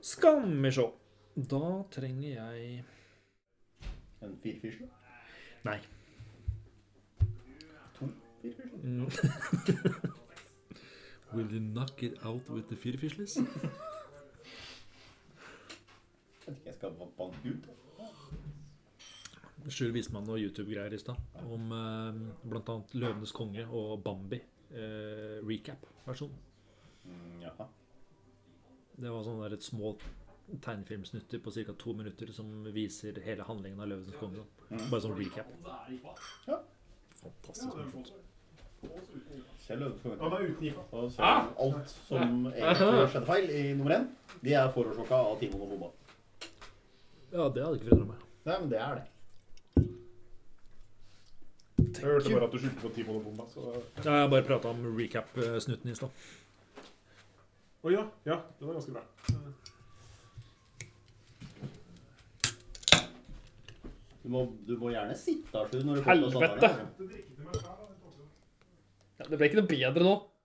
Skal vi se. Da trenger jeg En firfisle? Nei. To firfisler? Mm, Will you knock it out with the firfisles? Jeg vet ikke, jeg skal ba- banke ut. Sjur viste meg noen YouTube-greier i stad om eh, blant annet 'Løvenes konge' og Bambi. Eh, Recap-versjon. Mm, jaha. Det var sånne der et små tegnefilmsnutter på ca. to minutter som viser hele handlingen av 'Løvenes konge'. da. Bare sånn recap. Ja. Fantastisk morsomt. Selv ønsker Han er uten IFA. Og så alt som egentlig skjedde feil i nummer én, de er forårsaka av Timon og Bomba. Ja, det hadde ikke forundra meg. Nei, men det er det. Jeg hørte bare at du skyldte på Timon og Bomba, så Ja, jeg bare prata om recap-snutten i stad. Å ja. Ja, den er ganske bra. Du må, du må gjerne sitte, Arthur. Når du får til å Helvete! samtale. Ja, det ble ikke noe bedre nå.